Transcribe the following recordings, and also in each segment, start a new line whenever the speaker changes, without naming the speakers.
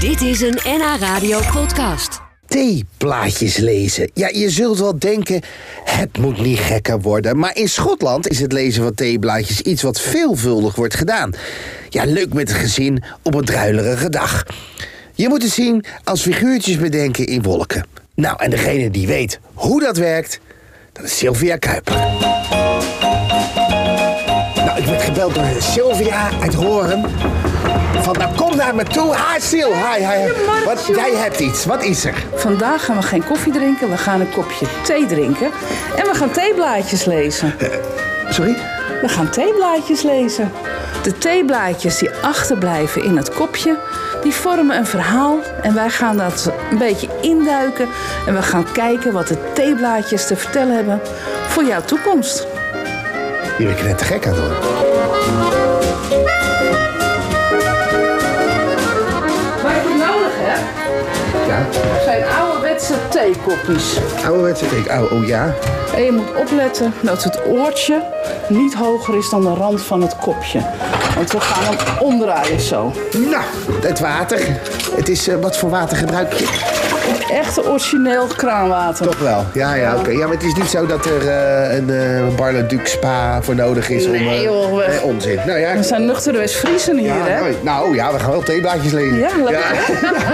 Dit is een NH Radio podcast.
theeplaatjes lezen. Ja, je zult wel denken, het moet niet gekker worden. Maar in Schotland is het lezen van theeblaadjes iets wat veelvuldig wordt gedaan. Ja, leuk met het gezin op een druilerige dag. Je moet het zien als figuurtjes bedenken in wolken. Nou, en degene die weet hoe dat werkt, dat is Sylvia Kuiper. Nou, ik werd gebeld door Sylvia uit Horen. Van, nou kom naar me toe. Hi, Syl. Hi, hi. Wat, jij hebt iets. Wat is er?
Vandaag gaan we geen koffie drinken, we gaan een kopje thee drinken. En we gaan theeblaadjes lezen.
Sorry?
We gaan theeblaadjes lezen. De theeblaadjes die achterblijven in het kopje, die vormen een verhaal. En wij gaan dat een beetje induiken. En we gaan kijken wat de theeblaadjes te vertellen hebben voor jouw toekomst.
Je bent net te gek aan het worden.
Wat je nodig hebt,
Ja.
zijn ouderwetse theekopjes.
Ouderwetse thee. Oh, oh ja.
En je moet opletten dat het oortje niet hoger is dan de rand van het kopje. Want we gaan hem omdraaien zo.
Nou, het water. Het is, eh, wat voor water gebruik je?
Echt origineel kraanwater.
Toch wel. Ja, ja, oké. Ja, maar het is niet zo dat er eh, een eh Barleduc spa voor nodig is om...
Nee,
eh,
joh, we-
nee, onzin. Nou ja.
We zijn nuchtere West-Friesen hier,
ja,
hè?
nou, nou ja, we gaan wel theeblaadjes lezen.
Ja, lekker.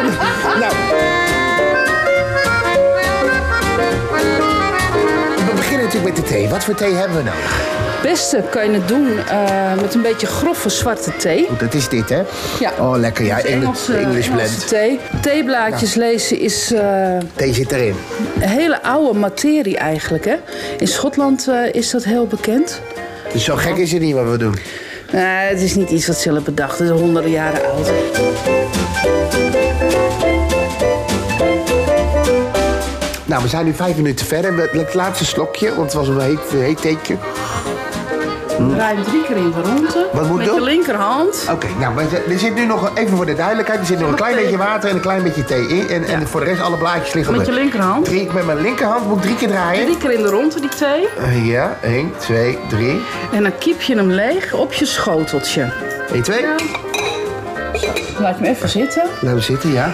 nou. We beginnen natuurlijk met de thee. Wat voor thee hebben we nou? nodig?
Het beste kan je het doen eh, met een beetje grove zwarte thee.
Dat is dit, hè?
Ja.
Oh, lekker. Ja, Engels,
Engelse-
English
eh, Engelse
blend.
thee. Theeblaadjes lezen is eh,
Thee zit erin.
een hele oude materie eigenlijk, hè? In Schotland eh, is dat heel bekend.
Dus zo gek is het niet wat we doen.
Nee, het is niet iets wat ze hebben bedacht. Het is honderden jaren oud.
Hm. Nou, we zijn nu vijf minuten verder. Met het laatste slokje, want het was een heet, eh, heet theetje. Oké,
Draai drie keer in de ronde.
Wat moet
Met
dat?
je linkerhand.
nou, maar er er zit nu nog, even voor de duidelijkheid, er zit nog een klein beetje water en een klein beetje thee in. En, en voor de rest, alle blaadjes liggen
eh, Met
op
je
de-
linkerhand.
Drie, met mijn linkerhand moet ik drie keer draaien.
Drie keer in de ronde, die thee.
Eh, ja, één, twee, drie.
En dan kiep je hem leeg op je schoteltje.
Eén, twee.
Laat hem even zitten.
Laten we zitten, ja.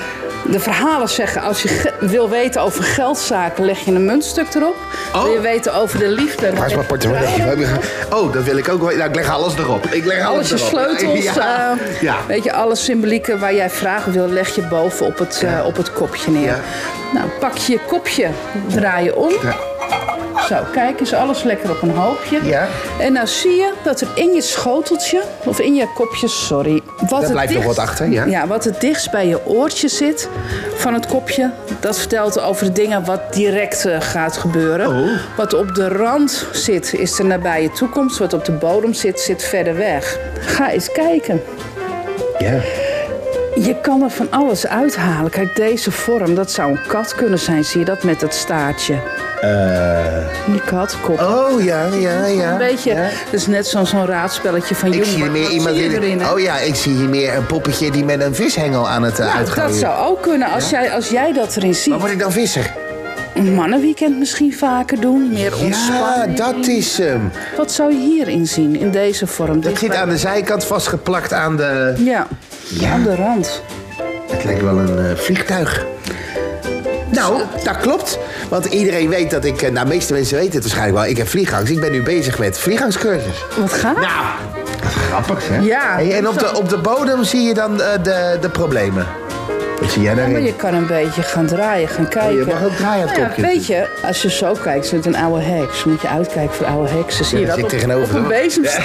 De verhalen zeggen, als je ge- wil weten over geldzaken, leg je een muntstuk erop. Wil je weten over de liefde...
Oh. Waar is mijn portemonnee? Oh, dat wil ik ook wel. Nou, ik leg alles erop. Ik leg alles,
Alles je
erop.
sleutels,
Ja.
eh,
ja.
weet je, alle symbolieken waar jij vragen wil, leg je boven op het, eh, op het kopje neer.
Ja.
Nou, pak je je kopje, draai je om.
Ja.
Zo, kijk, is alles lekker op een hoopje.
Ja.
En nou zie je dat er in je schoteltje, of in je kopje, sorry. Wat het
blijft nog
dichtst-
wat achter, ja.
Ja, wat het dichtst bij je oortje zit van het kopje, dat vertelt over de dingen wat direct eh, gaat gebeuren.
Oh.
Wat op de rand zit, is de nabije toekomst. Wat op de bodem zit, zit verder weg. Ga eens kijken.
Ja.
Je kan er van alles uithalen. Kijk, deze vorm, dat zou een kat kunnen zijn. Zie je dat met dat staartje? Die kat, kop.
Eh. Oh, ja, ja, ja.
Een beetje,
ja.
dat is net zo'n zo'n raadspelletje van
Ik
Jung.
zie hier
Wat-
meer
wat
iemand
zie je erin, hè?
Oh ja, ik zie hier meer een poppetje die met een vishengel aan het eh,
Nou,
uitgooien.
dat zou ook kunnen als, jij, als jij dat erin ziet.
Maar word ik dan visser?
Een mannenweekend misschien vaker doen, meer
Ja,
ontspannen.
dat is hem.
Wat zou je hierin zien, in deze vorm?
Dat zit aan de zijkant vastgeplakt aan de...
Ja,
Ja,
aan de rand.
het lijkt wel een eh, vliegtuig. Nou, dat klopt. Want iedereen weet dat ik... eh, Nou, de meeste mensen weten het waarschijnlijk wel. Ik heb vliegangst. Ik ben nu bezig met vliegangstcursus.
Wat gaat?
Nou, dat is grappig, hè?
Ja.
Hey, en op de, op de bodem zie je dan eh, de, de problemen. Wat zie jij
maar
daarin?
je kan een beetje gaan draaien, gaan kijken.
Oh, je mag ook draaien aan het
Nou
kopje.
Ja, weet je, als je zo kijkt, zit een oude heks. Moet je uitkijken voor oude heksen. Zie je
daar
dat
zit
op,
ik tegenover,
op een
hoor.
bezem staan?